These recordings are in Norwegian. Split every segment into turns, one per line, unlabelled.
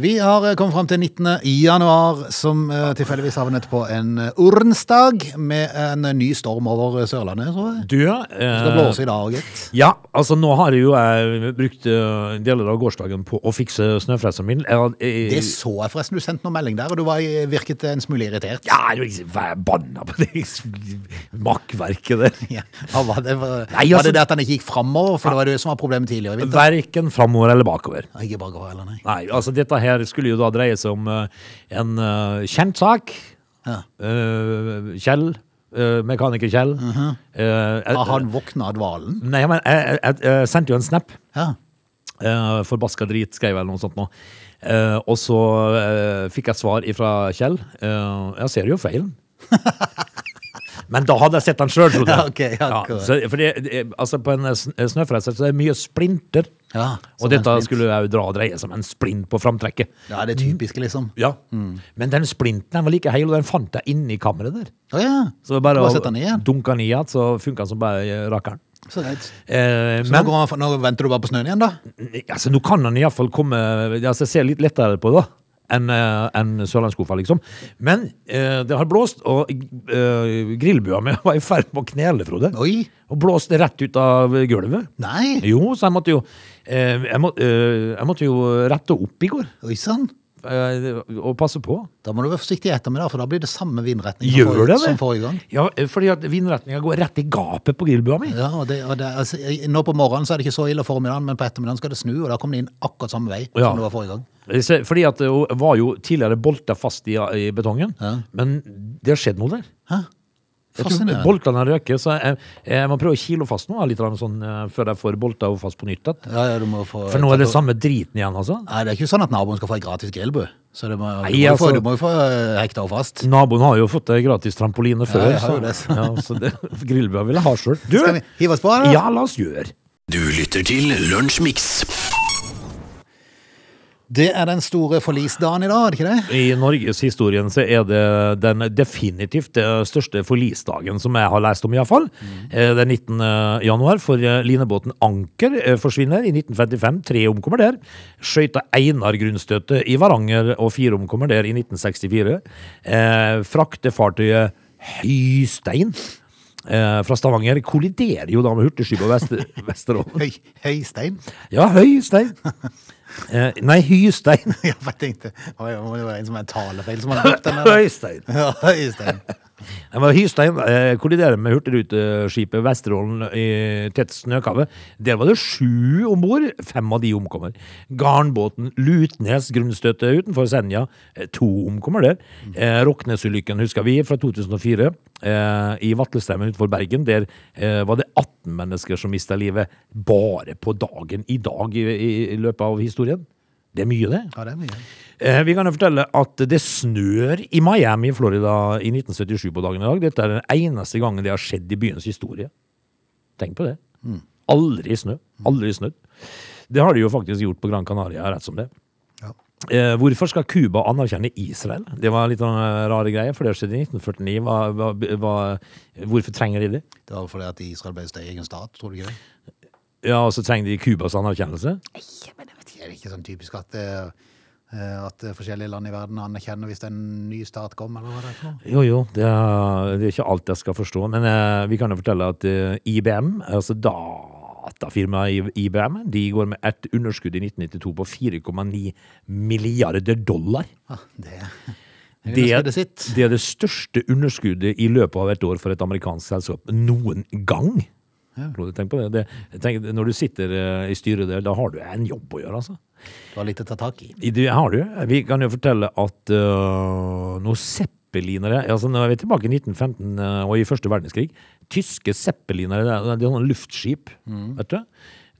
Vi har eh, kommet fram til 19. januar, som eh, tilfeldigvis havnet på en eh, ordensdag med en ny storm over eh, Sørlandet, tror jeg.
Du, ja.
Det skal
Eh,
blåse i dag, gitt.
ja, altså nå har jeg jo eh, brukt eh, deler av gårsdagen på å fikse snøfreseren min. Jeg, eh,
Det
jeg,
så jeg forresten. Du sendte noen melding der, og du var, i- virket en smule irritert.
ja, jeg er jo ikke banna på det makkverket der.
Ja. Hva var det, var,
Nei,
var
altså-
det det at den ikke gikk framover? For det var det som var problemet tidligere i vinter.
Verken framover eller bakover.
Ikke bare gå, eller nei.
Nei, altså dette her skulle jo da dreie seg om eh, en eh, kjent sak.
Ja.
Eh, Kjell, eh, mekaniker Kjell. Eh, jeg-
Mhm. Har han våkna av dvalen?
Nei, men jeg, jeg, jeg sendte jo en snap.
Ja.
Uh, forbaska drit, skrev jeg eller noe sånt nå. Eh, og så eh, fikk jeg svar fra Kjell. Eh, jeg ser jo feilen. Men da hadde jeg sett den sjøl, trodde
Ja, ok, ja,
Ja,
cool.
så, for det, det- altså på en sn- snøfreser så er det mye splinter.
Ja, som
og
en
dette
splint.
skulle jeg jo dra og dreie som en splint på framtrekket.
ja, det typiske, liksom.
Ja. Men den splinten den var like heil, og den fant jeg inni kammeret der.
Å ja.
Så det var bare
Bare
å
sette den i igjen.
dunke den i igjen, så funka den som bare rakkeren.
Så greit.
Eh,
Så nå, går han, nå venter du bare på snøen igjen, da?
Altså, nå kan han iallfall komme altså, Se litt lettere på det da, enn eh, enn sørlandskoffa, liksom. Men eh, det har blåst, og eh, grillbua mi var i ferd med å knele, Frode.
Oi.
Og blåste rett ut av gulvet.
Nei.
Jo, så jeg måtte jo eh, jeg, må, eh, jeg måtte jo rette opp i går.
Oi sann.
eh, og passe på.
Da må du være forsiktig i ettermiddag, for da blir det samme vindretning som
Gjør
forrige-
det det?
som forrige gang.
Ja, eh, fordi at vindretninga går rett i gapet på grillbua mi.
Ja, og det, og det, altså, i- nå på morgenen så er det ikke så ille formiddagen, men på ettermiddagen skal det snu, og da kommer det inn akkurat samme vei
Ja.
som det var forrige gang.
Så- Fordi at hun var jo tidligere bolta fast i, i betongen,
Ja.
men det har skjedd noe der.
Hæ?
Jeg tror
Fascinerende.
Boltene røker, så jeg, jeg må prøve å kilo fast nå, litt grann sånn, eh, før jeg får bolta og fast på nytt. at-
Ja, ja, du må få
For nå er det sånn- samme driten igjen, altså.
Nei, det er ikke sånn at naboen skal få ei gratis grillbu. Så du må, du,
Nei,
må jo få,
altså-
du må jo få eh, hekta henne fast.
Naboen har jo fått ei gratis trampoline før,
jeg har jo
så,
det, så.
ja, så det, grillbua vil jeg ha sjøl. Du,
Skal vi hive oss på, eller?
ja, la oss gjøre.
Du lytter til Lunsjmix.
Det er den store forlisdagen i dag, er det ikke det?
I norgeshistorien så er det den definitivt eh, største forlisdagen som jeg har lest om, iallfall. Mm. Det er 19. januar, for eh, linebåten Anker eh, forsvinner i 1955. Tre omkommer der. Skøyta Einar grunnstøtet i Varanger, og fire omkommer der i 1964. Eh, Fraktefartøyet Høystein eh, fra Stavanger kolliderer jo da med hurtigskipet Vester Vesterålen.
Høy, høystein?
Ja, Høystein. Eh, nei, Hystein.
Ja, for jeg tenkte Oi, må det være en som er en talefeil som har brukt den? eller?
Høystein.
Ja, høystein.
Ja, men Hystein eh, kolliderer med hurtigruteskipet Vesterålen i tett snøkave. Der var det sju om bord. Fem av de omkommer. Garnbåten Lutnes grunnstøtte utenfor Senja. Eh, To omkommer der. Eh, Roknesulykken husker vi fra 2004 eh, i Vatlesteimen utenfor Bergen. Der eh, var det 18 mennesker som mista livet bare på dagen i dag i, i, i løpet av historien. Det er mye, det.
Ja, det er mye.
Eh, Vi kan jo fortelle at det snør i Miami i Florida i 1977 på dagen i dag. Dette er den eneste gangen det har skjedd i byens historie. Tenk på det. Aldri snø. Aldri snødd. Det har de jo faktisk gjort på Gran Canaria, rett som det.
Ja.
Eh, hvorfor skal Cuba anerkjenne Israel? Det var litt sånn eh, rare greier, for det skjedde i 1949. Hva, hva, hva, hvorfor trenger de det?
Det var fordi at Israel ble sin egen stat, tror du ikke det?
Ja, Og så trenger de Cubas anerkjennelse?
Nei, men jeg vet ikke, er det ikke sånn typisk at, eh, eh, at eh, forskjellige land i verden anerkjenner hvis det er en ny stat kom, eller hva det er for noe?
Jo, jo, det er, det er ikke alt jeg skal forstå, men eh, vi kan jo fortelle at eh, IBM, altså datafirmaet I- IBM, de går med et underskudd i 1992 på 4,9 milliarder dollar.
Ja, Ah, det er
Det,
underskuddet sitt.
det er det største underskuddet i løpet av et år for et amerikansk selskap noen gang. Frode, Tenk på det. det tenk, når du sitter eh, i styret der, da har du en jobb å gjøre, altså.
Det var litt å ta tak i.
I Det har du. Vi kan jo fortelle at uh, noen zeppelinere altså Nå er vi tilbake i 1915 øh, og i første verdenskrig. Tyske zeppelinere, det er, det er sånne luftskip,
Mm.
vet du.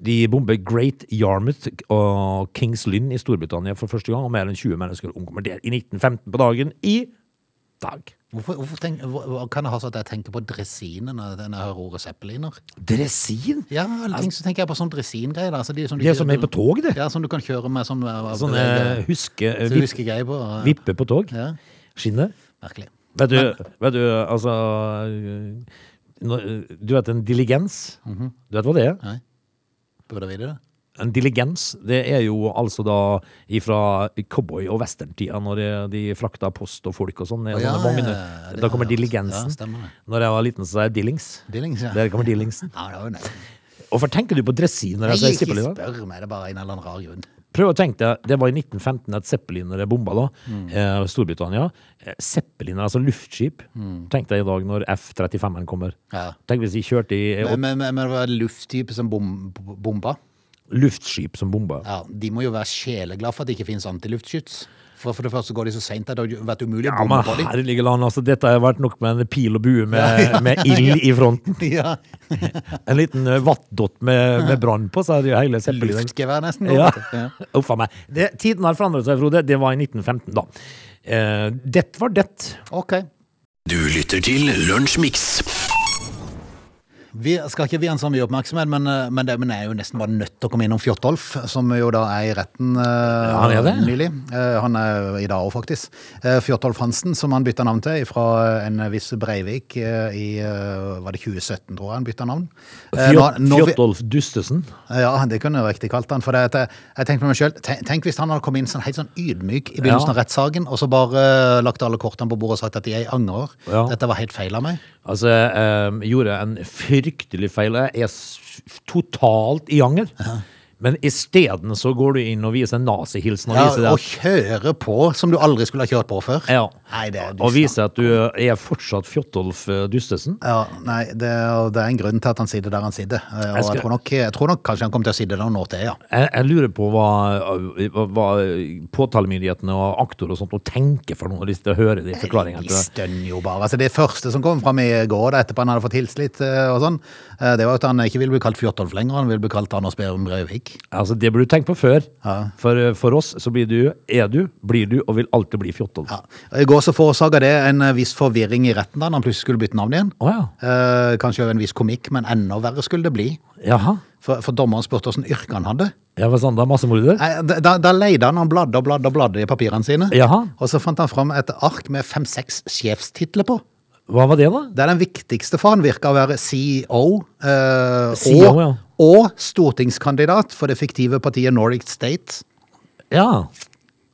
De bomber Great Yarmouth og Kings Lynn i Storbritannia for første gang, og mer enn 20 mennesker omkommer der i 1915 på dagen i dag.
Hvorfor, hvorfor tenk, hva, hva kan det ha sånn at jeg tenker på dresinen når når jeg hører ordet zeppeliner?
Dressin?
Ja, eller ting, så tenker jeg på sånn dressingreier. Altså de som du
Det er
kjører-
som er på tog, det.
Ja, som du kan kjøre med sånn,
Sånne øh, huske...
du
Vipp,
husker greier på. eh,
vippe på tog.
Ja.
Skinner.
Merkelig.
Vet du, vet du altså når, Du vet en diligens?
Mhm.
Du vet hva det er?
Nei. Burde vi det?
En diligens, det er jo altså da ifra cowboy- og westerntida, når de frakta post og folk og sånn. ned
Å,
i
ja,
sånne
ja,
vogner.
ja, det
da
har
kommer
jeg hørt. Ja,
diligensen.
stemmer det.
når jeg var liten, så sa jeg dillings.
Dillings, ja.
Der kommer dillingsen.
Ja, det var jo nei.
Hvorfor tenker du på dressin når altså, jeg
Nei,
sier
ikke
Zeppelin? da?
spør meg, det er bare en eller annen rar grunn.
Prøv å tenke deg, det var i 1915 at zeppelinere bomba da,
Mm.
eh, Storbritannia. Eh, Zeppelinere, altså luftskip. Tenk deg i dag når F-35-en kommer.
Mm. Ja.
Tenk hvis de kjørte i eh,
Men, men, men det var lufttype som bom, bomba.
luftskip som bomba.
Ja, de må jo være sjeleglad for at det ikke finnes antiluftskyts. For, for det første går de så seint at det har vært umulig å
Ja,
bomme
men
på dem.
herlige land, altså, dette har vært nok med en pil og bue med, med ild i fronten.
Ja,
En liten eh, vattdott med, med brann på, så er det jo hele zeppelineren.
Luftgevær, nesten.
Ja.
Ja.
Uff a meg. Det, tiden har forandret seg, Frode. Det var i 1915, da. Eh, det var det.
Ok.
Du lytter til Lunsjmix.
Vi skal ikke vie en så mye oppmerksomhet, men, eh, men, det, men jeg er jo nesten bare nødt til å komme innom Fjortolf, som jo da er i retten eh,
han er det?
nylig. Eh, han er i dag òg, faktisk. Eh, Fjortolf Hansen, som han bytta navn til fra en viss Breivik eh, i eh, Var det 2017, tror jeg han bytta navn? Eh, nå-
Fjot,
nå vi-
Fjotolf Dustesen.
Ja, det kunne jeg riktig kalt han. For det, at jeg, jeg tenkte på meg selv, tenk, tenk hvis han hadde kommet inn sånn, helt sånn ydmyk i begynnelsen
Ja.
av rettssaken, og så bare eh, lagt alle kortene på bordet og sagt at jeg angrer.
Ja.
Dette var helt feil av meg.
Altså, eh, gjorde en fryktelig feil. Jeg er s- totalt i anger. Men isteden så går du inn og viser en nazihilsen og
Ja,
viser det.
å kjøre på som du aldri skulle ha kjørt på før.
ja.
Nei, det er
og
dust.
viser at du er fortsatt Fjotolf eh, Dustesen.
Ja, nei, det, er- det er en grunn til at han sitter der han sitter. eh, Og
Jeg
jeg,
skal-
tror nok, jeg tror nok kanskje han kommer til å sitte der noen år til, ja.
Jeg, jeg lurer på hva, hva, hva påtalemyndighetene og aktor og sånt og tenker for noe hvis de hører de forklaringene.
De
til det.
stønner jo bare. Altså, det første som kom fram i går, da, etterpå han hadde fått hilst litt eh, og sånn, eh, det var at han ikke ville bli kalt Fjortolf lenger, han ville bli kalt Anders Berum Breivik.
Altså, det burde du tenkt på før.
Ja.
For, eh, for oss så blir du, er du, blir du og vil alltid bli Fjotolf.
Ja. I går så forårsaka det en eh, viss forvirring i retten da når han plutselig skulle bytte navn igjen.
Å ja.
Eh, kanskje også en viss komikk, men enda verre skulle det bli.
Jaha.
For, for dommeren spurte åssen yrke han hadde.
Jeg var sånn, da massemorder.
Nei, da- da, da leide han, han bladde og bladde og bladde i papirene sine.
Jaha.
Og så fant han fram et ark med fem-seks sjefstitler på.
Hva var det, da?
Det er den viktigste for han virka å være CEO, eh,
CEO,
og,
E ja.
og stortingskandidat for det fiktive partiet Nordic State.
Ja,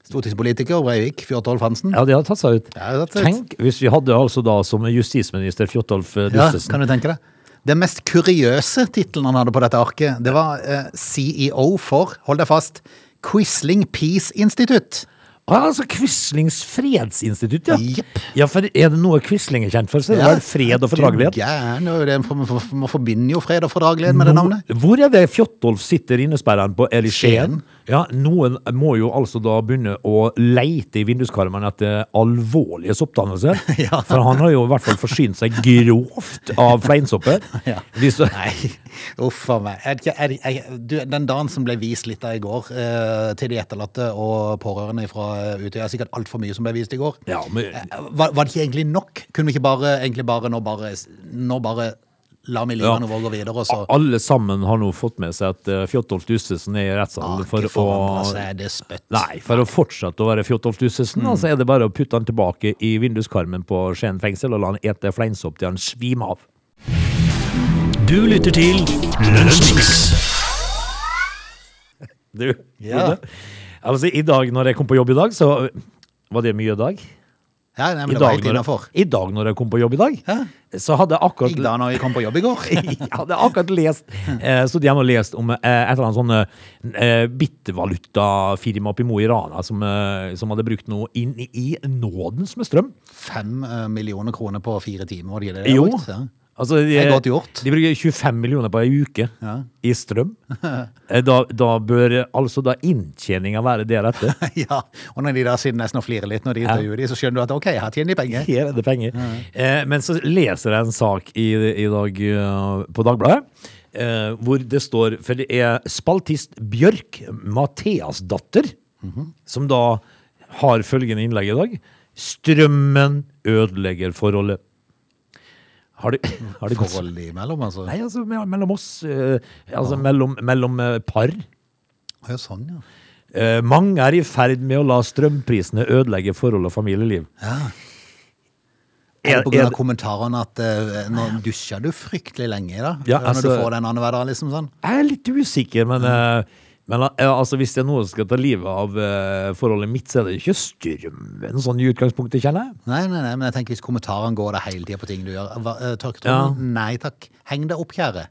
Stortingspolitiker Breivik Fjørtolf Hansen.
ja det hadde tatt seg ut.
Ja, det hadde tatt seg ut.
Tenk hvis vi hadde altså da som justisminister Fjotolf eh,
Ja,
Dustesen.
kan du tenke deg? Den mest kuriøse tittelen han hadde på dette arket, det var eh, CEO for, hold deg fast, Quisling Peace Institute.
ah, altså Quislings fredsinstitutt, ja.
Jepp.
Ja, for er det noe Quisling er kjent for, så er det vel fred og fordragelighet.
Du gæren, det er jo det- for- for- for- Man forbinder jo fred og fordragelighet med det navnet.
Hvor er det Fjotolf sitter innesperret på? Er det i Skien?
Skien.
Ja, noen må jo altså da begynne å leite i vinduskarmen etter alvorlige soppdannelser.
Ja.
For han har jo i hvert fall forsynt seg grovt av fleinsopper.
Ja.
Hvis,
Nei, uff a meg. Er det ikke- er det- jeg- du, Den dagen som ble vist litt av i går eh, til de etterlatte og pårørende fra eh, Utøya, er sikkert altfor mye som ble vist i går.
Ja, men-
Eh, var, var det ikke egentlig nok? Kunne vi ikke bare, egentlig bare, nå bare, nå bare la meg
Ja.
livene våre gå videre, og så
Alle sammen har nå fått med seg at eh, Fjotolf Dustesen er i rettssalen
Har
for
ikke forandret
å
seg, det er spøtt.
Nei, for å fortsette å være Fjotolf Dustesen,
Mm.
da, så er det bare å putte han tilbake i vinduskarmen på Skien fengsel og la han ete fleinsopp til han svimer av.
Du lytter til Lunsjmix.
Du,
Ja.
Frode. Altså, i dag når jeg kom på jobb i dag, så var det mye dag.
Ja, nei,
I
men det var
dag,
helt innafor.
når, I dag når jeg kom på jobb i dag, så hadde jeg
I
akkurat
dag når jeg kom på jobb i går.
jeg hadde akkurat lest eh, stod hjemme og lest om eh, et eller annet sånn eh, bittevalutafirma oppe i Mo i Rana som, eh, som hadde brukt noe inn i nådens med strøm.
Fem eh, millioner kroner på fire timer, var det ikke det? de
Jo.
brukte? Ja.
Altså, de,
Det er godt gjort.
De bruker 25 millioner på ei uke
Ja.
i strøm. Eh, Da, da bør eh, altså da inntjeninga være deretter.
ja. Og når de da siden nesten og flirer litt når de intervjuer de, så skjønner du at ok, her tjener de penger.
Her er det penger. Eh, men så leser jeg en sak i, i dag eh, på Dagbladet. Eh, hvor det står For det er spaltist Bjørk Matheasdatter som da har følgende innlegg i dag. Strømmen ødelegger forholdet. Har du, har du gått
Forhold imellom, altså.
Nei, altså me- mellom oss. eh, altså mellom, mellom eh, par.
Ja, sånn, ja.
Eh, mange er i ferd med å la strømprisene ødelegge forhold og familieliv.
ja. Er det på grunn av
er-
kommentarene at eh, nå dusjer du fryktelig lenge i dag?
Ja,
når du
altså-
får den annenhver dag, liksom sånn?
Jeg er litt usikker, men, eh, men eh, altså, hvis det er noe som skal ta livet av eh, forholdet mitt, så er det ikke strømmen sånn i utgangspunktet, kjenner jeg.
Nei, nei, nei, men jeg tenker hvis kommentarene går der hele tida på ting du gjør hva- eh, Tørker du?
Ja.
Nei takk. Heng deg opp, kjære.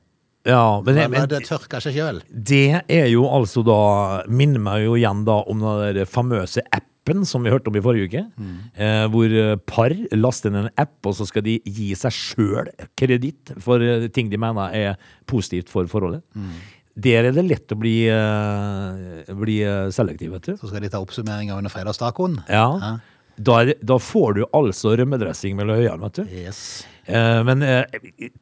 Ja, men,
Hva- hva-
men
Det tørker seg sjøl.
det er jo altså da Minner meg jo igjen da om den der famøse appen som vi hørte om i forrige uke. Eh, hvor eh, par laster inn en app, og så skal de gi seg sjøl kreditt for eh, ting de mener er positivt for forholdet. Der er det lett å bli, eh, bli eh, selektiv, vet du.
Så skal de ta oppsummeringa under fredagstacoen.
Ja. Da, er, det- da får du altså rømmedressing mellom øynene, vet du.
Yes.
Eh, men eh,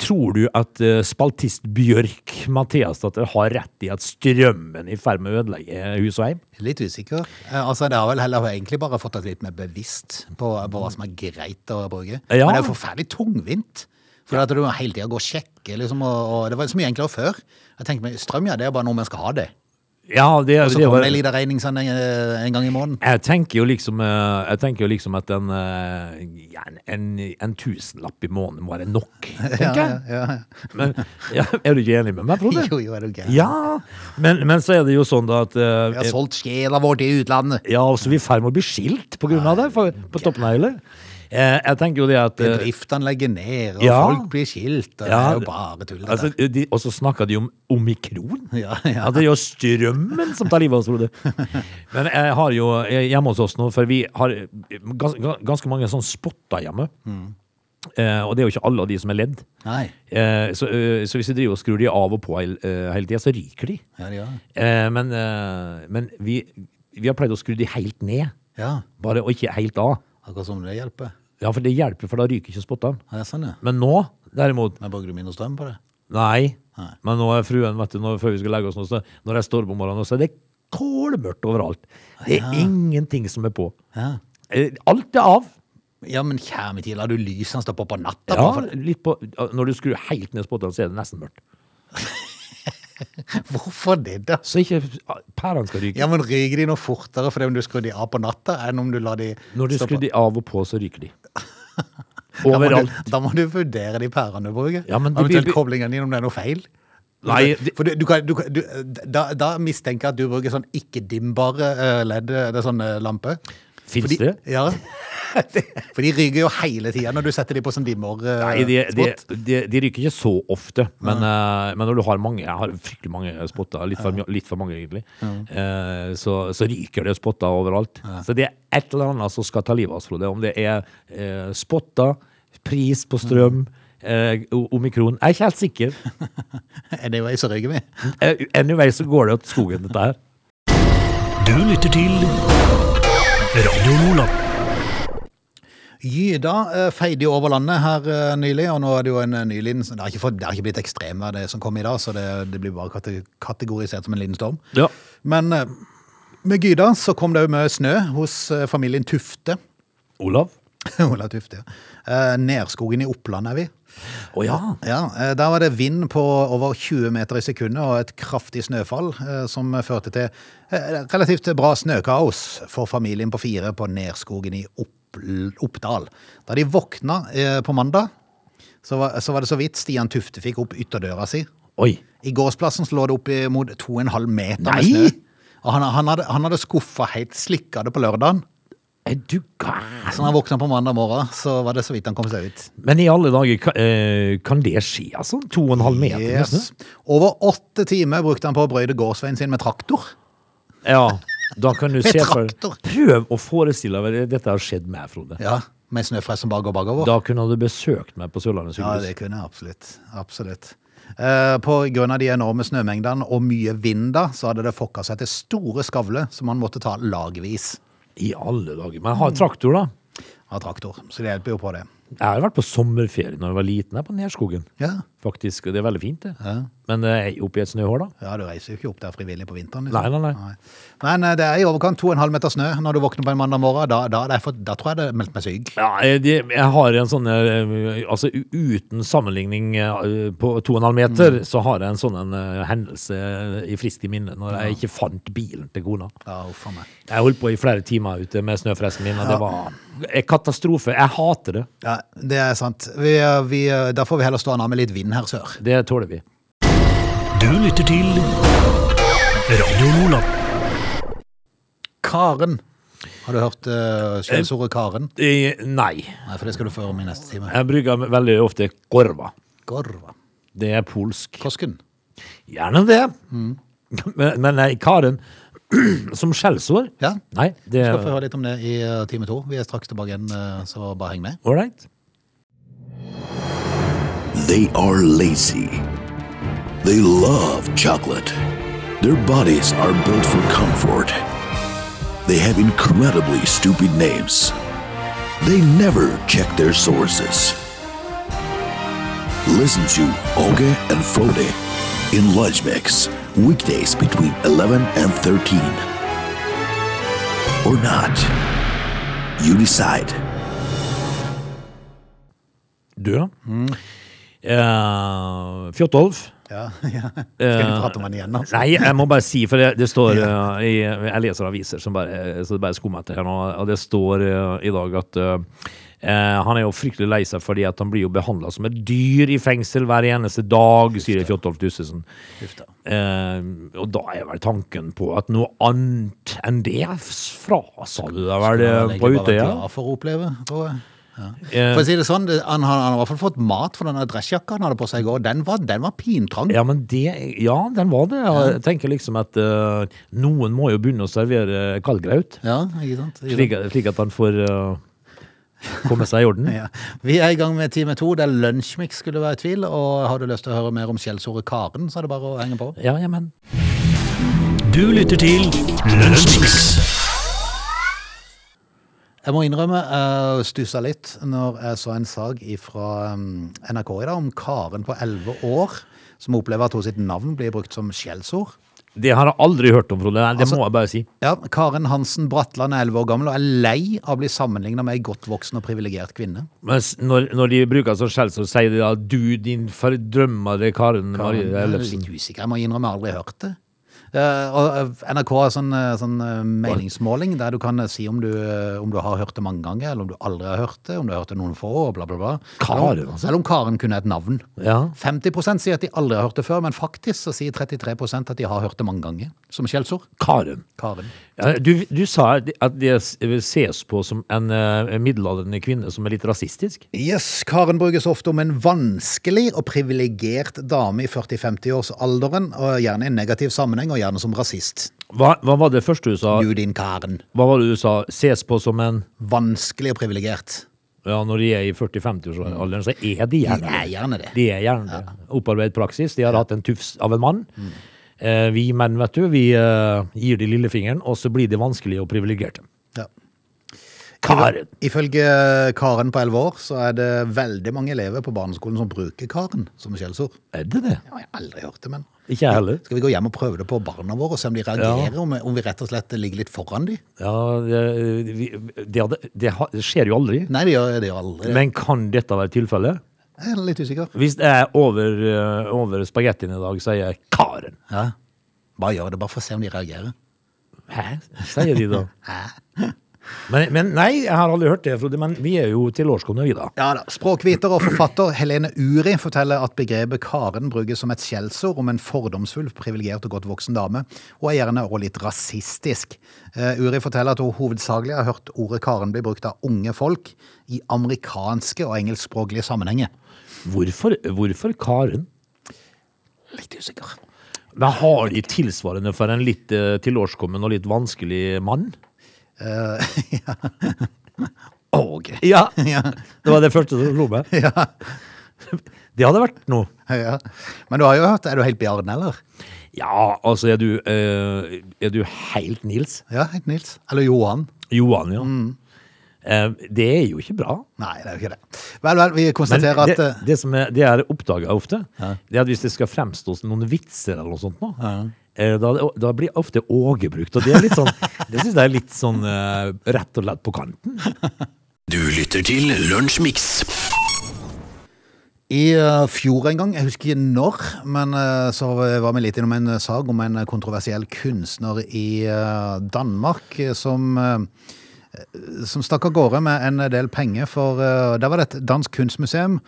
tror du at eh, spaltist Bjørk Mathiasdatter har rett i at strømmen er i ferd med å ødelegge hus og heim?
Litt usikker. Eh, altså, det har vel heller egentlig bare fått oss litt mer bevisst på, på hva som er greit å bruke.
Ja.
Men det er jo forferdelig tungvint. For at du må hele tida gå og sjekke, liksom, og, og det var så mye enklere før. Jeg tenker meg, Strøm, ja, det er bare noe man skal ha det.
Ja, det,
Og så
det
kommer
var,
det en liten regning sånn en, en gang i måneden.
jeg tenker jo liksom eh, Jeg tenker jo liksom at en, eh, ja, en, en, en tusenlapp i måneden må være nok, tenker jeg.
ja, ja.
Men, ja, er du ikke enig med meg, Frode?
Jo, jo, er du gæren.
Ja, men, men så er det jo sånn da at eh,
Vi har solgt sjela vår til utlandet.
Ja, og så er vi i ferd med å bli skilt på grunn av det, for, på toppen av hele. Eh, jeg tenker jo det at eh,
Bedriftene legger ned, og
ja.
folk blir skilt. Og det
Ja,
er jo bare tull. dette.
altså, de, Og så snakker de om omikron.
Ja, ja.
det er jo strømmen som tar livet av oss, Frode. Men jeg har jo jeg er hjemme hos oss nå, for vi har gans, gans- ganske mange sånne spotter hjemme. Eh, og det er jo ikke alle av de som er ledd.
Nei.
Eh, så, eh, så hvis vi driver og skrur de av og på hele, eh, hele tida, så ryker de.
Ja, det gjør det.
Eh, men eh, men vi, vi har pleid å skru de helt ned,
Ja,
bare, og ikke helt av.
akkurat som det hjelper.
Ja, for det hjelper, for da ryker ikke spotteren.
Ja, det er sånn, ja.
Men nå, derimot,
Men bruker du mindre strøm på det?
nei.
Nei.
Men nå er fruen, vet du, når, før vi skal legge oss nå, så når jeg står opp om morgenen, så er det kålmørkt overalt. Det er ingenting som er på.
Ja.
Eh, Alt er av.
Ja, men kjære tid, lar du lysene stå på på natta?
Ja,
bare for-
litt på, når du skrur helt ned spotteren, så er det nesten mørkt.
Hvorfor det, da?
Så ikke ah, pærene skal ryke.
Ja, men Ryker de noe fortere fordi om du skrur de av på natta, enn om du lar de
Når du
stå
skrur
på?
de av og på, så ryker de.
Da må
Overalt.
du, da må du vurdere de pærene du bruker.
Ja, men de
Eventuelt
blir-
koblingene dine om det er noe feil.
Nei, det-
For du, du kan, du, kan- du, da, da mistenker jeg at du bruker sånn ikke-dimbare eh, ledd, det er sånn eh, lampe.
Finnes
Fordi-
det?
Ja. For de ryker jo hele tida når du setter de på sånn dimmer.
Nei, de, de,
spot.
de, de ryker ikke så ofte, men, eh, men når du har mange Jeg har fryktelig mange spotter, litt for, mye- litt for mange egentlig, eh, så, så ryker det spotter overalt. Så det er et eller annet som skal ta livet av oss, Frode. Om det er eh, spotter, pris på strøm, eh, o- omikron Jeg er ikke helt sikker.
Er det jo ei som ryker med?
Eh, Anyway så går det til skogen, dette her.
Du lytter til Radio Nordland.
Gyda eh, feide jo over landet her eh, nylig, og nå er det jo en eh, ny liten Det har ikke, fått, det har ikke blitt ekstremvær, det som kom i dag, så det, det blir bare kate, kategorisert som en liten storm.
Ja.
Men eh, med Gyda så kom det jo mye snø hos eh, familien Tufte.
Olav?
Ola Tufte, ja. Eh, Nerskogen i Oppland er vi.
Å ja.
Ja, eh, Der var det vind på over 20 meter i sekundet og et kraftig snøfall eh, som førte til eh, relativt bra snøkaos for familien på fire på Nerskogen i Oppl- Oppdal. Da de våkna eh, på mandag, så var, så var det så vidt Stian Tufte fikk opp ytterdøra si.
Oi.
I gårdsplassen så lå det opp mot 2,5 meter
Nei!
med snø. Og han, han hadde, han hadde skuffa helt slikka det på lørdagen.
Er du gæren?
Så når han våkna på mandag morgen, så var det så vidt han kom seg ut.
Men i alle dager, kan, eh, kan det skje, altså? To og en halv meter? med snø?
Yes. Over åtte timer brukte han på å brøyde gårdsveien sin med traktor.
Ja, da kan du
Med
se for
traktor.
Prøv å forestille deg at dette har skjedd meg, Frode.
Ja, Med snøfres som bare går bakover.
Da kunne du besøkt meg på Sørlandet
Ja,
sykehus.
det kunne jeg absolutt. Absolutt. Eh, på grunn av de enorme snømengdene og mye vind da, så hadde det fokka seg til store skavler som han måtte ta lagvis
I alle dager. Men jeg har traktor, da.
av traktor. Så det hjelper jo på det.
Jeg har vært på sommerferie når jeg var liten, her på Nerskogen.
Ja,
Faktisk, og Det er veldig fint, det. Men det er jo oppi et snøhår, da.
ja du reiser jo ikke opp der frivillig på vinteren. liksom.
Nei, nei, nei.
Men eh, det er i overkant 2,5 meter snø når du våkner på en mandag morgen. Da, da, er det for, da tror jeg det er meldt meg syk.
Ja, jeg, de- jeg har en sånn eh, Altså u- uten sammenligning eh, på 2,5
Mm.
meter, så har jeg en sånn en eh, hendelse i friskt i minne når jeg ikke fant bilen til kona.
Ja, uff a meg.
Jeg holdt på i flere timer ute med snøfressen min, og det var Jeg, kat katastrofe. Jeg hater det.
Ja, det er sant. Vi, eh, vi, eh, da får vi heller stå an med litt vind her sør.
Det tåler vi.
Du lytter til Radio Nordland.
Karen. Har du hørt uh, skjellsordet Karen?
Eh, Nei.
Nei, for det skal du få om i neste time.
Jeg bruker veldig ofte korva.
Gorva.
Det er polsk.
Kosken.
Gjerne det.
Mm.
Men, men nei, Karen som skjellsord
Ja.
Nei, det
Vi skal få
er
høre litt om det i eh, time to. Vi er straks tilbake igjen, eh, så bare heng med.
ålreit.
They are lazy. They love chocolate. Their bodies are built for comfort. They have incredibly stupid names. They never check their sources. Listen to Oge and Frode in Lunch Mix, weekdays between 11 and 13. Or not. You decide.
Du, ja.
Mm.
Eh, Fjotolf.
Ja, ja. Skal vi prate om den igjen, altså?
Eh, Nei, jeg må bare si, for det, det står eh, i, Jeg leser aviser, som bare, eh, så det bare skummer etter her nå. Og det står eh, i dag at eh, eh, han er jo fryktelig lei seg fordi at han blir jo behandla som et dyr i fengsel hver eneste dag, sier Fjotolf Dussesen.
Uff da.
Eh, og da er vel tanken på at noe annet enn det frasa du deg
Han
vel
har
eh,
egentlig
på
bare vært
Utøya?
glad for å oppleve, tror jeg. Ja.
Eh.
For å si det sånn, det- han, han, han har i hvert fall fått mat for denne dressjakka han hadde på seg i går. Den var, den var pintrang.
Ja, men det, ja, den var det. Jeg tenker liksom at eh, noen må jo begynne å servere kaldgraut.
Ja, ikke sant? Ikke sant?
Slik, slik at han får eh, komme seg i orden.
Ja. Vi er i gang med time to, der lunsjmix skulle være i tvil. Og har du lyst til å høre mer om skjellsordet Karen, så er det bare å henge på.
Ja, ja, men
Du lytter til Lunsjmix.
Jeg må innrømme, jeg stussa litt når jeg så en sag fra NRK i dag om Karen på 11 år som opplever at hun sitt navn blir brukt som skjellsord.
Det har jeg aldri hørt om, Frode. Det
Altså-
må jeg bare si.
Ja, Karen Hansen Bratland er 11 år gammel og er lei av å bli sammenligna med ei godt voksen og privilegert kvinne.
Mens når, når de bruker sånn skjell, så sier de da 'du, din fordrømmede Karen Marie
Jeg er
Ellefsen'.
litt usikker, jeg må innrømme jeg har aldri hørt det. Eh, og eh, NRK har sånn, eh, sånn eh, meningsmåling der du kan eh, si om du, eh, om du har hørt det mange ganger, eller om du aldri har hørt det, om du har hørt det noen få, og bla, bla, bla.
Karen,
Eller om-
altså.
Eller om Karen kunne et navn.
Ja.
50 sier at de aldri har hørt det før, men faktisk så sier 33 at de har hørt det mange ganger. Som skjellsord.
Karen.
Karen.
Ja, du, du sa at det ses på som en eh, middelaldrende kvinne som er litt rasistisk.
Yes, Karen brukes ofte om en vanskelig og privilegert dame i 40-50-årsalderen, og gjerne i en negativ sammenheng, og gjerne som rasist.
Hva, hva var det første du sa?
Du, din Karen.
Hva var det du sa? Ses på som en
Vanskelig og privilegert.
Ja, når de er i 40-50-årsalderen, så er de gjerne
De er gjerne det.
De er gjerne det. Opparbeidet praksis. De har hatt en tufs av en mann. Eh, vi menn, vet du, vi eh, gir de lillefingeren, og så blir de vanskelige og privilegerte.
Ja.
Karen!
Ifølge Karen på 11 år, så er det veldig mange elever på barneskolen som bruker Karen som skjellsord.
Er det det?
Ja, jeg har aldri hørt det, men
Ikke jeg heller.
Skal vi gå hjem og prøve det på barna våre, og se om de reagerer, om, om vi rett og slett ligger litt foran de?
Ja, det, vi, det, hadde- det, ha- det skjer jo aldri.
Nei, det gjør, det gjør aldri det.
Men kan dette være tilfellet?
Jeg er litt usikker.
Hvis jeg er over, eh, over spagettien i dag, sier jeg 'Karen'.
Ja. Bare gjør det, bare for å se om de reagerer.
Hæ? Sier de da. Men, men nei, jeg har aldri hørt det, Frode. Men vi er jo tilårskomne, vi, da.
Ja da. Språkviter og forfatter Helene Uri forteller at begrepet Karen brukes som et skjellsord om en fordomsfull, privilegert og godt voksen dame, og er gjerne også litt rasistisk. Eh, Uri forteller at hun hovedsakelig har hørt ordet Karen bli brukt av unge folk i amerikanske og engelskspråklige sammenhenger.
Hvorfor, hvorfor Karen?
Litt usikker.
Men har de tilsvarende for en litt eh, tilårskommen og litt vanskelig mann?
Åge.
Ja,
Ja.
det var det første som slo meg.
Ja.
Det hadde vært noe.
ja. Men du har jo hørt Er du helt Bjarne, eller?
Ja, altså, er du, eh, er du helt Nils?
Ja, helt Nils. Eller Johan.
Johan, ja. Eh, det er jo ikke bra.
Nei, det er jo ikke det. Vel, vel, vi
Men
konstaterer at
det,
eh,
det som er, det er oppdaga ofte,
Ja.
det er at hvis det skal fremstå som noen vitser eller noe sånt nå, eh, da, da blir ofte Åge brukt. Og det er litt sånn, det syns jeg er litt sånn eh, rett og slett på kanten.
Du lytter til Lunsjmix.
I eh, fjor en gang, jeg husker ikke når, men eh, så var vi litt innom en eh, sag om en kontroversiell kunstner i eh, Danmark eh, som eh, som stakk av gårde med en del penger for eh, Der var det et dansk kunstmuseum.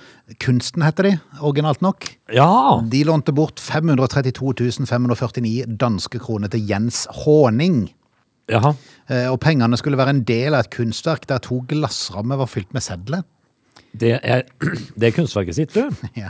Kunsten heter de, originalt nok.
Ja!
De lånte bort 532 549 danske kroner til Jens Håning.
Jaha.
Eh, Og pengene skulle være en del av et kunstverk der to glassrammer var fylt med sedler.
Det er, det er kunstverket sitt, du.
Ja.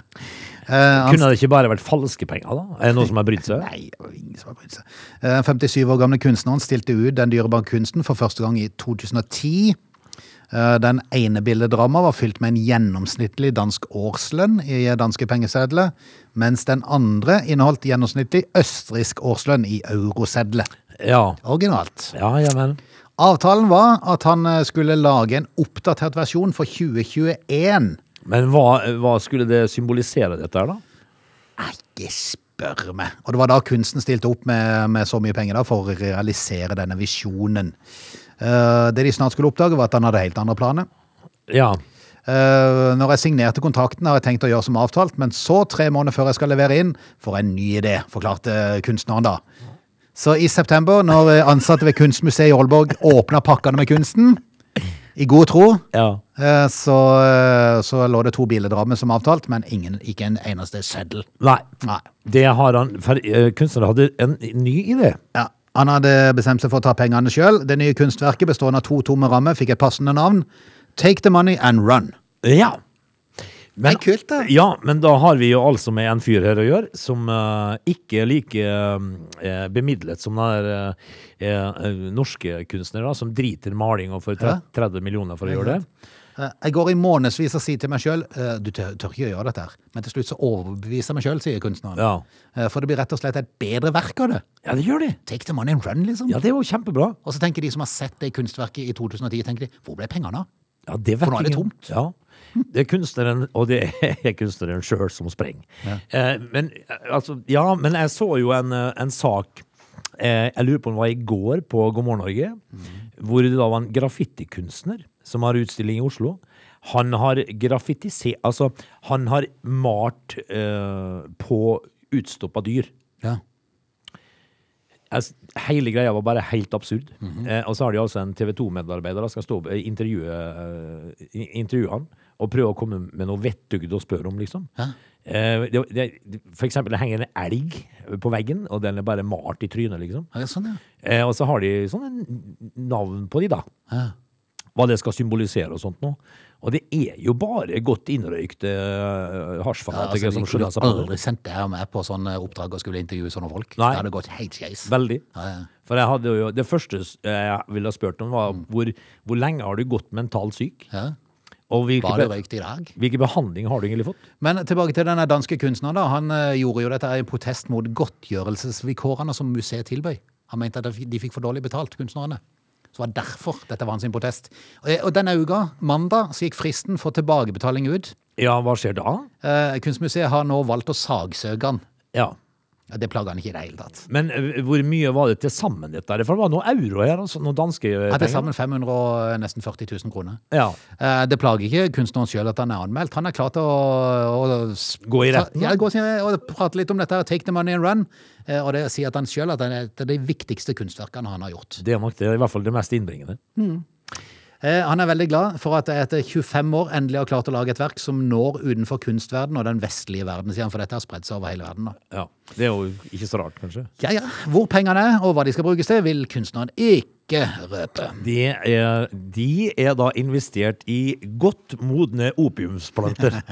Eh, han-
Kunne det ikke bare vært falske penger, da? Er det noen som har brydd seg?
Nei, det var ingen som har brydd seg. Eh, Den 57 år gamle kunstneren stilte ut den dyrebare kunsten for første gang i 2010. Eh, Den ene bildedrama var fylt med en gjennomsnittlig dansk årslønn i danske pengesedler, mens den andre inneholdt gjennomsnittlig østerriksk årslønn i eurosedler.
Ja.
Originalt.
Ja, ja vel.
Avtalen var at han eh, skulle lage en oppdatert versjon for 2021.
Men hva, hva skulle det symbolisere, dette her, da?
Ikke spør meg. Og det var da kunsten stilte opp med, med så mye penger da, for å realisere denne visjonen. Eh, det de snart skulle oppdage, var at han hadde helt andre planer.
Ja.
Eh, når jeg signerte kontrakten, har jeg tenkt å gjøre som avtalt, men så, tre måneder før jeg skal levere inn, får jeg en ny idé, forklarte kunstneren da. Så i september, når ansatte ved Kunstmuseet i Aalborg åpna pakkene med kunsten, i god tro,
ja.
eh, så, eh, så lå det to billedrammer som avtalt, men ingen, ikke en eneste seddel.
Nei.
Nei.
Det har han for, eh, Kunstneren hadde en ny idé.
Ja, Han hadde bestemt seg for å ta pengene sjøl. Det nye kunstverket bestående av to tomme rammer fikk et passende navn. Take the money and run.
Ja. Men,
Det er kult, da.
Ja, men da har vi jo altså med en fyr her å gjøre som eh, ikke er like eh, bemidlet som den der eh, eh, norske kunstnere da, som driter i maling og får tre- 30 millioner for å gjøre det.
Eh, Jeg går i månedsvis og sier til meg sjøl du tør, tør ikke å gjøre dette, her. men til slutt så overbeviser jeg meg sjøl, sier kunstneren.
Ja.
Eh, For det blir rett og slett et bedre verk av det.
Ja, det gjør de.
Take the money and run, liksom.
Ja, det er jo kjempebra.
Og så tenker de som har sett det kunstverket i 2010, tenker de, hvor ble pengene av?
Ja, det vet
For nå er det
ingen.
tomt.
Ja. Det er kunstneren, og det er kunstneren sjøl som sprenger. Eh, men, eh, altså, ja, men jeg så jo en, eh, en sak eh, Jeg lurer på om det var i går på God morgen Norge.
Mhm.
Hvor det da var en graffitikunstner som har utstilling i Oslo. Han har graffitisert Altså, han har malt eh, på utstoppa dyr.
Ja.
Altså, Hele greia var bare helt absurd.
Mhm.
eh, og så har de altså en TV 2-medarbeider som skal stå og intervjue, eh, i- intervjue han og prøve å komme med noe vettugd å spørre om, liksom. Eh, det, det, for eksempel, det henger en elg på veggen, og den er bare malt i trynet, liksom.
Ja, sånn, ja.
Eh, og så har de sånne navn på de, da.
Ja.
Hva det skal symbolisere og sånt noe. Og det er jo bare godt innrøykte uh,
Ja,
hasjfanatikere
altså,
som
de
skjønner
kunne
seg på det.
aldri sendt det her med på sånne oppdrag og skulle intervjue sånne folk.
Nei.
Det hadde gått helt skeis.
Veldig.
Ja, ja.
For jeg hadde jo, det første s- jeg ville ha spurt om, var
Mm.
hvor, hvor lenge har du gått mentalt syk?
Ja.
Og hvilke,
Var det
be-
røykt i dag?
hvilke behandling har du egentlig fått?
Men tilbake til denne danske kunstneren. da. Han eh, gjorde jo dette her i protest mot godtgjørelsesvilkårene som museet tilbød. Han mente at de fikk for dårlig betalt, kunstnerne. Så det var derfor dette var hans sin protest. Og, eh, og denne uka, mandag, så gikk fristen for tilbakebetaling ut.
Ja, hva skjer da?
Eh, kunstmuseet har nå valgt å sagsøke han.
Ja.
Ja, det plager han ikke i det hele tatt.
Men eh, hvor mye var det til sammen dette? her? For det var noe euro her, altså, noen danske eh,
Ja, til
penger.
sammen 500 og eh, nesten 40 000 kroner.
Ja.
Eh, det plager ikke kunstneren sjøl at han er anmeldt. Han er klar til å, å s-
Gå i
ta-
retten,
Ja,
da?
gå sin- og prate litt om dette. her, Take the money and run. Eh, og det sier at han sjøl at det er et av de viktigste kunstverkene han har gjort.
Det er nok det, i hvert fall det mest innbringende.
Eh, han er veldig glad for at jeg etter 25 år endelig har klart å lage et verk som når utenfor kunstverden og den vestlige verden, sier han, for dette har spredt seg over hele verden. da.
Ja. Det er jo ikke så rart, kanskje.
Ja ja, hvor pengene er og hva de skal brukes til, vil kunstneren ikke røpe.
De er, de er da investert i godt modne opiumsplanter.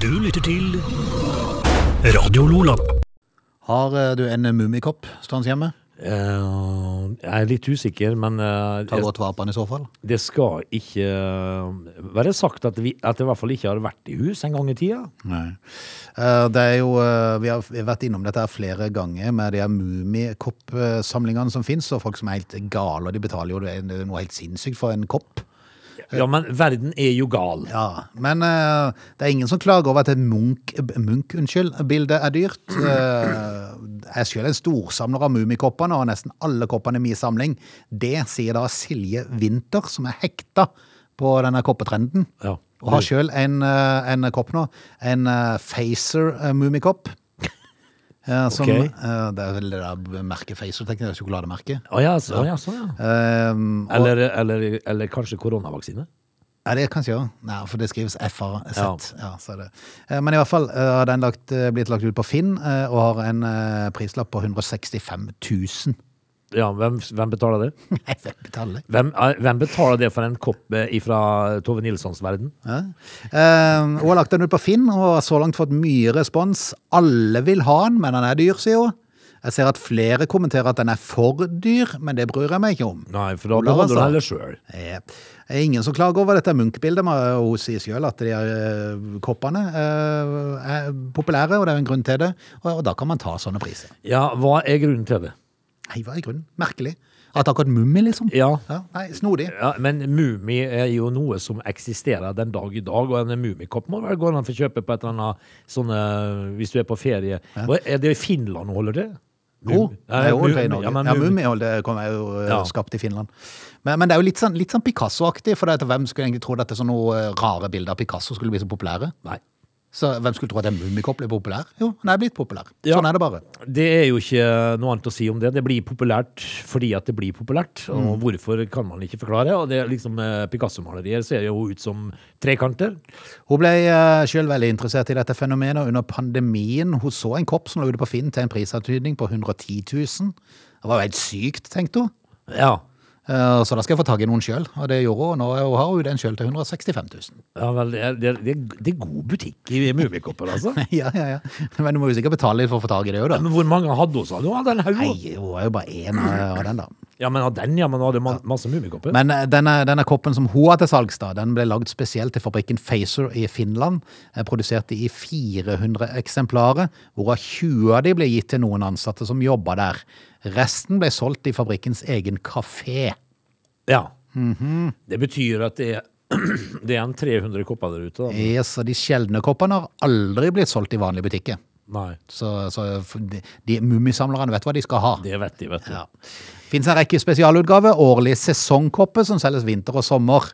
Du lytter til Radio Lola.
Har eh, du en mummikopp stående hjemme?
Eh, jeg er litt usikker, men eh,
Ta godt vare på den i så fall.
Det skal ikke eh, være sagt at, vi, at det i hvert fall ikke har vært i hus en gang i tida.
Nei. Eh, Det er jo, eh, vi har vi har vært innom dette her flere ganger med de her mumikoppsamlingene som finnes, og folk som er helt gale, og de betaler jo det er noe helt sinnssykt for en kopp.
Ja, men verden er jo gal.
Ja, Men eh, det er ingen som klager over at et Munch, Munch unnskyld, bilde er dyrt. Eh, Jeg er selv en storsamler av mumikoppene, og har nesten alle koppene i min samling. Det sier da Silje Winther, som er hekta på denne koppetrenden.
Ja.
Og har sjøl en, eh, en kopp nå. En eh, Facer eh, Mummikopp. eh, som
Ok.
eh, Det er vel det der merket Facer, tenker jeg, sjokolademerket.
Å ja, så, å ja, sånn, ja.
Um, og,
Eller, eller, eller kanskje koronavaksine?
ja, det kan jeg gjøre. Nei, for det skrives FRZ. Ja.
Ja.
så er det. Eh, Men i hvert fall eh, har den lagt, eh, blitt lagt ut på Finn, eh, og har en eh, prislapp på 165 000.
Ja, hvem, hvem betaler det?
Nei, hvem betaler det?
Hvem, eh, hvem betaler det for en kopp fra Tove Nilssons verden?
Ja. Eh, Hun har lagt den ut på Finn, og har så langt fått mye respons. Alle vil ha den, men den er dyr, sier hun. Jeg ser at flere kommenterer at den er for dyr, men det bryr jeg meg ikke om.
Nei, for da
Olav,
beholder
altså.
du heller sjøl.
Eh, Det er ingen som klager over dette Munch-bildet. men Hun sier selv at de her eh, koppene eh, er populære, og det er jo en grunn til det. Og, og da kan man ta sånne priser.
Ja, hva er grunnen til det?
Nei, hva er grunnen? Merkelig. At akkurat Mummi, liksom.
Ja.
Nei, snodig.
Ja, men Mumi er jo noe som eksisterer den dag i dag, og en Mumikopp må vel gå an å få kjøpe på et eller annet sånne, hvis du er på ferie. Og Er det i Finland hun holder til?
Jo,
Mumi-
det er jo
Mumi-
det i Norge.
Ja, men
Ja,
Mumi-
Mummihold det kom er jo eh,
Ja.
skapt i Finland. Men, men det er jo litt sånn, litt sånn Picasso-aktig, for det at hvem skulle egentlig trodd at det er sånne eh, rare bilder av Picasso skulle bli så populære?
Nei.
Så hvem skulle tro at en mummikopp ble populær? Jo, den er blitt populær.
Ja.
Sånn er det bare.
Det er jo ikke noe annet å si om det. Det blir populært fordi at det blir populært.
Mm.
Og hvorfor kan man ikke forklare. Og det er liksom eh, Picasso-malerier ser jo ut som trekanter.
Hun ble uh, selv veldig interessert i dette fenomenet under pandemien. Hun så en kopp som lå ute på Finn til en prisantydning på 110 000. Det var jo helt sykt, tenkte hun.
Ja.
Eh, så da skal jeg få tak i noen sjøl, og det gjorde hun. Og nå har hun den sjøl til 165 000.
ja vel, det, er- det, er- det er god butikk i Mumikopper, altså.
ja, ja, ja. Men du må jo sikkert betale litt for å få tak i det òg, da.
Men hvor mange hadde hun, sa du? Hadde en haug?
Nei, hun er jo bare én av av den, da.
Ja, men av den, ja. Men hun hadde ma- masse Mumikopper.
Men eh, denne, denne koppen som hun har til salgs, da, den ble lagd spesielt til fabrikken Facer i Finland. Eh, Produserte i 400 eksemplarer, hvorav 20 av de ble gitt til noen ansatte som jobba der. Resten ble solgt i fabrikkens egen kafé.
Ja.
Mhm.
Det betyr at det er, det er en 300 kopper der ute. Da.
Eh, Så de sjeldne koppene har aldri blitt solgt i vanlige butikker.
Nei,
Så, så f- de, de mummisamlerne vet hva de skal ha.
det vet de, vet du.
Ja. Fins en rekke sesongutgave, årlige sesongkopper som selges vinter og sommer.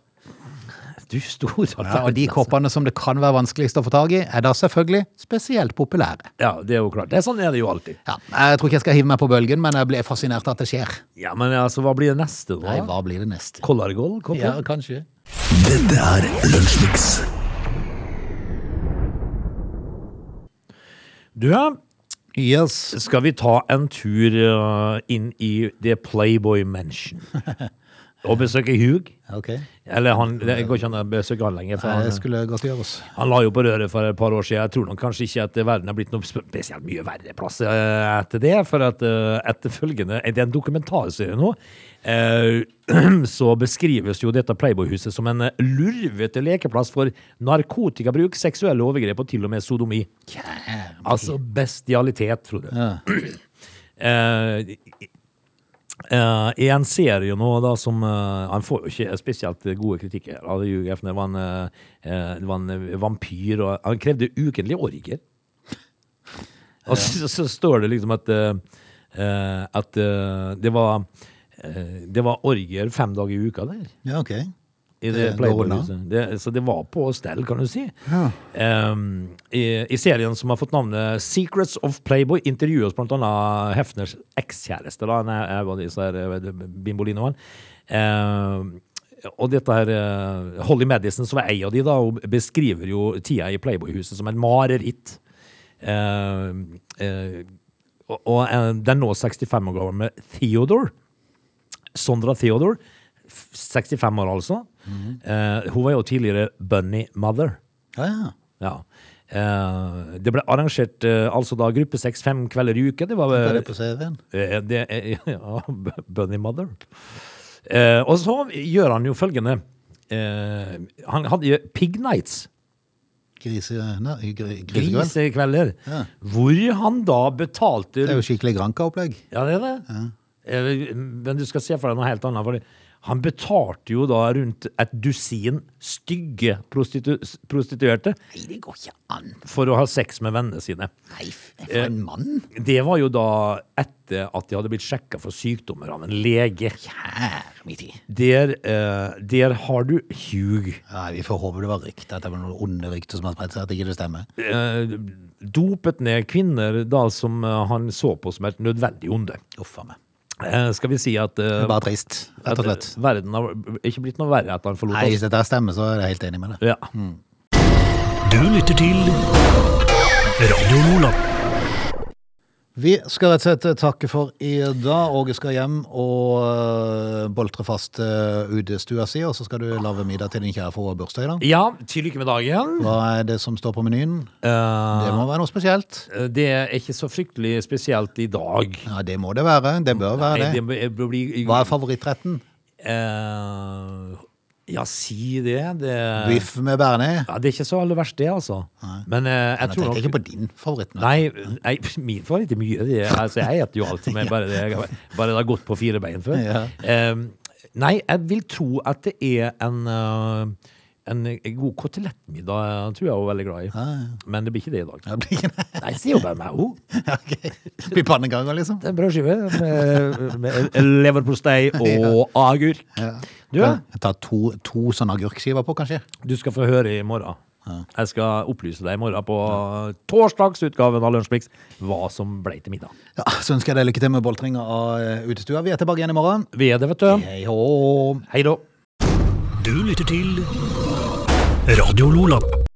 Du store
Ja, og de
verden, altså.
koppene som det kan være vanskeligst å få tak i, er da selvfølgelig spesielt populære.
Ja, det er jo klart. Det er sånn er det jo alltid.
Ja, jeg tror ikke jeg skal hive meg på bølgen, men jeg blir fascinert at det skjer.
Ja, men altså, hva blir det neste, da?
Nei, hva blir det neste?
Collargold? Kopper?
kanskje.
Dette er Lunsjmix.
Du, ja.
Yes.
Skal vi ta en tur eh, inn i The Playboy Mansion? Og besøke Hugh?
Ok.
Eller han, det går ikke an å besøke han lenger. For
Nei, det
han,
skulle godt gjøres.
Han la jo på røret for et par år siden. Jeg tror nok kanskje ikke at verden har blitt noe spesielt mye verre plass eh, etter det. For at eh, etter følgende Det er en dokumentarserie nå. eh, Så beskrives jo dette Playboy-huset som en eh, lurvete lekeplass for narkotikabruk, seksuelle overgrep og til og med sodomi. Altså bestialitet, Frode. Eh, eh, I en serie nå da som eh, Han får jo ikke spesielt gode kritikker av Hugh Hefner. Det var en, eh, eh, det var en vampyr, og han krevde ukentlige orgier. Og så, så står det liksom at eh, eh, At eh, det var eh, Det var orgier fem dager i uka der.
Ja, ok.
I
Det
det
går
Playboy-huset. Det- Så det var på stell, kan du si.
Ja.
Ehm, i, I serien som har fått navnet Secrets of Playboy, intervjuer oss blant annet Hefners ekskjæreste, da. Han er, er var disse her, eh, bimbolinoen. Ehm, og dette her, eh, Holly Madison, som er ei av de, da, hun beskriver jo tida i Playboy-huset som en mareritt. Ehm, eh, og og eh, den nå 65 år gamle Theodore Sondra Theodore, f- 65 år altså. Eh, hun var jo tidligere Bunny Mother.
Ja, ja.
Ja. Eh, det ble arrangert eh, altså da gruppe seks fem kvelder i uka. Det var
Hva er
eh,
det på serien?
Eh, Det er, ja, Bunny Mother. Eh, og så gjør han jo følgende. Eh, han hadde jo Pig Nights,
Grise... Nei, gri- grisegrønn?
grisekvelder,
Ja.
hvor han da betalte
Det er jo skikkelig granka-opplegg.
Ja, det er det. Eh, Men du skal se for deg noe helt annet. For han betalte jo da rundt et dusin stygge prostitu prostituerte
Nei, det går ikke an.
for å ha sex med vennene sine.
Nei, for en mann.
Det var jo da etter at de hadde blitt sjekka for sykdommer av en lege.
Kjære min tid.
Der, eh, der har du Hugh.
Nei, vi får håpe det var rykte, at det var noen onde rykter som har spredt seg, at ikke det stemmer.
Eh, dopet ned kvinner da som eh, han så på som et nødvendig onde.
Uff a meg.
Eh, skal vi si at, eh,
Det er bare trist, rett
at
og slett.
eh, verden har ikke blitt noe verre etter han forlot
Nei, Mm. hvis
oss?
dette stemmer, så er jeg helt enig med det.
Ja.
Du lytter til Radio Lola.
Vi skal rett og slett eh, takke for i dag. Åge skal hjem og øh, boltre fast øh, UD-stua si, og så skal du lage middag til din kjære for hun har bursdag i dag.
ja, til lykke med dagen.
Hva er det som står på menyen? Det må være noe spesielt.
Eh, det er ikke så fryktelig spesielt i dag.
Ja, det må det være. Det bør være
Nei,
det.
det bør bli-
Hva er favorittretten?
Eh, ja, si det. det
Biff med bearnés?
Ja, det er ikke så aller verst, det, altså. Men eh, jeg
Nå
tror
tenker
nok
jeg ikke på din favoritt. nå.
Nei, nei, min var ikke mye. Det, er- altså, jeg spiser jo alt som er bare det, bare det har gått på fire bein før.
Ja.
Eh, nei, jeg vil tro at det er en eh, en god kotelettmiddag tror jeg hun er veldig glad i. Men det blir ikke det i dag.
Ja, det blir ikke det.
Nei, sier jo bare meg. Oh,
Ja, ok. Det blir pannekaker, liksom.
en brødskive med, med leverpostei og agurk. Du, ja.
Jeg tar to, to sånne agurkskiver på, kanskje.
Du skal få høre i morgen. Jeg skal opplyse deg i morgen på torsdagsutgaven av Lunsjmix hva som ble til middag.
Ja, så ønsker jeg deg lykke til med boltringa av eh, utestua. Vi er tilbake igjen i morgen.
Vi er det, vet du.
Hei hå!
Hei da.
Du lytter til Radio Lola.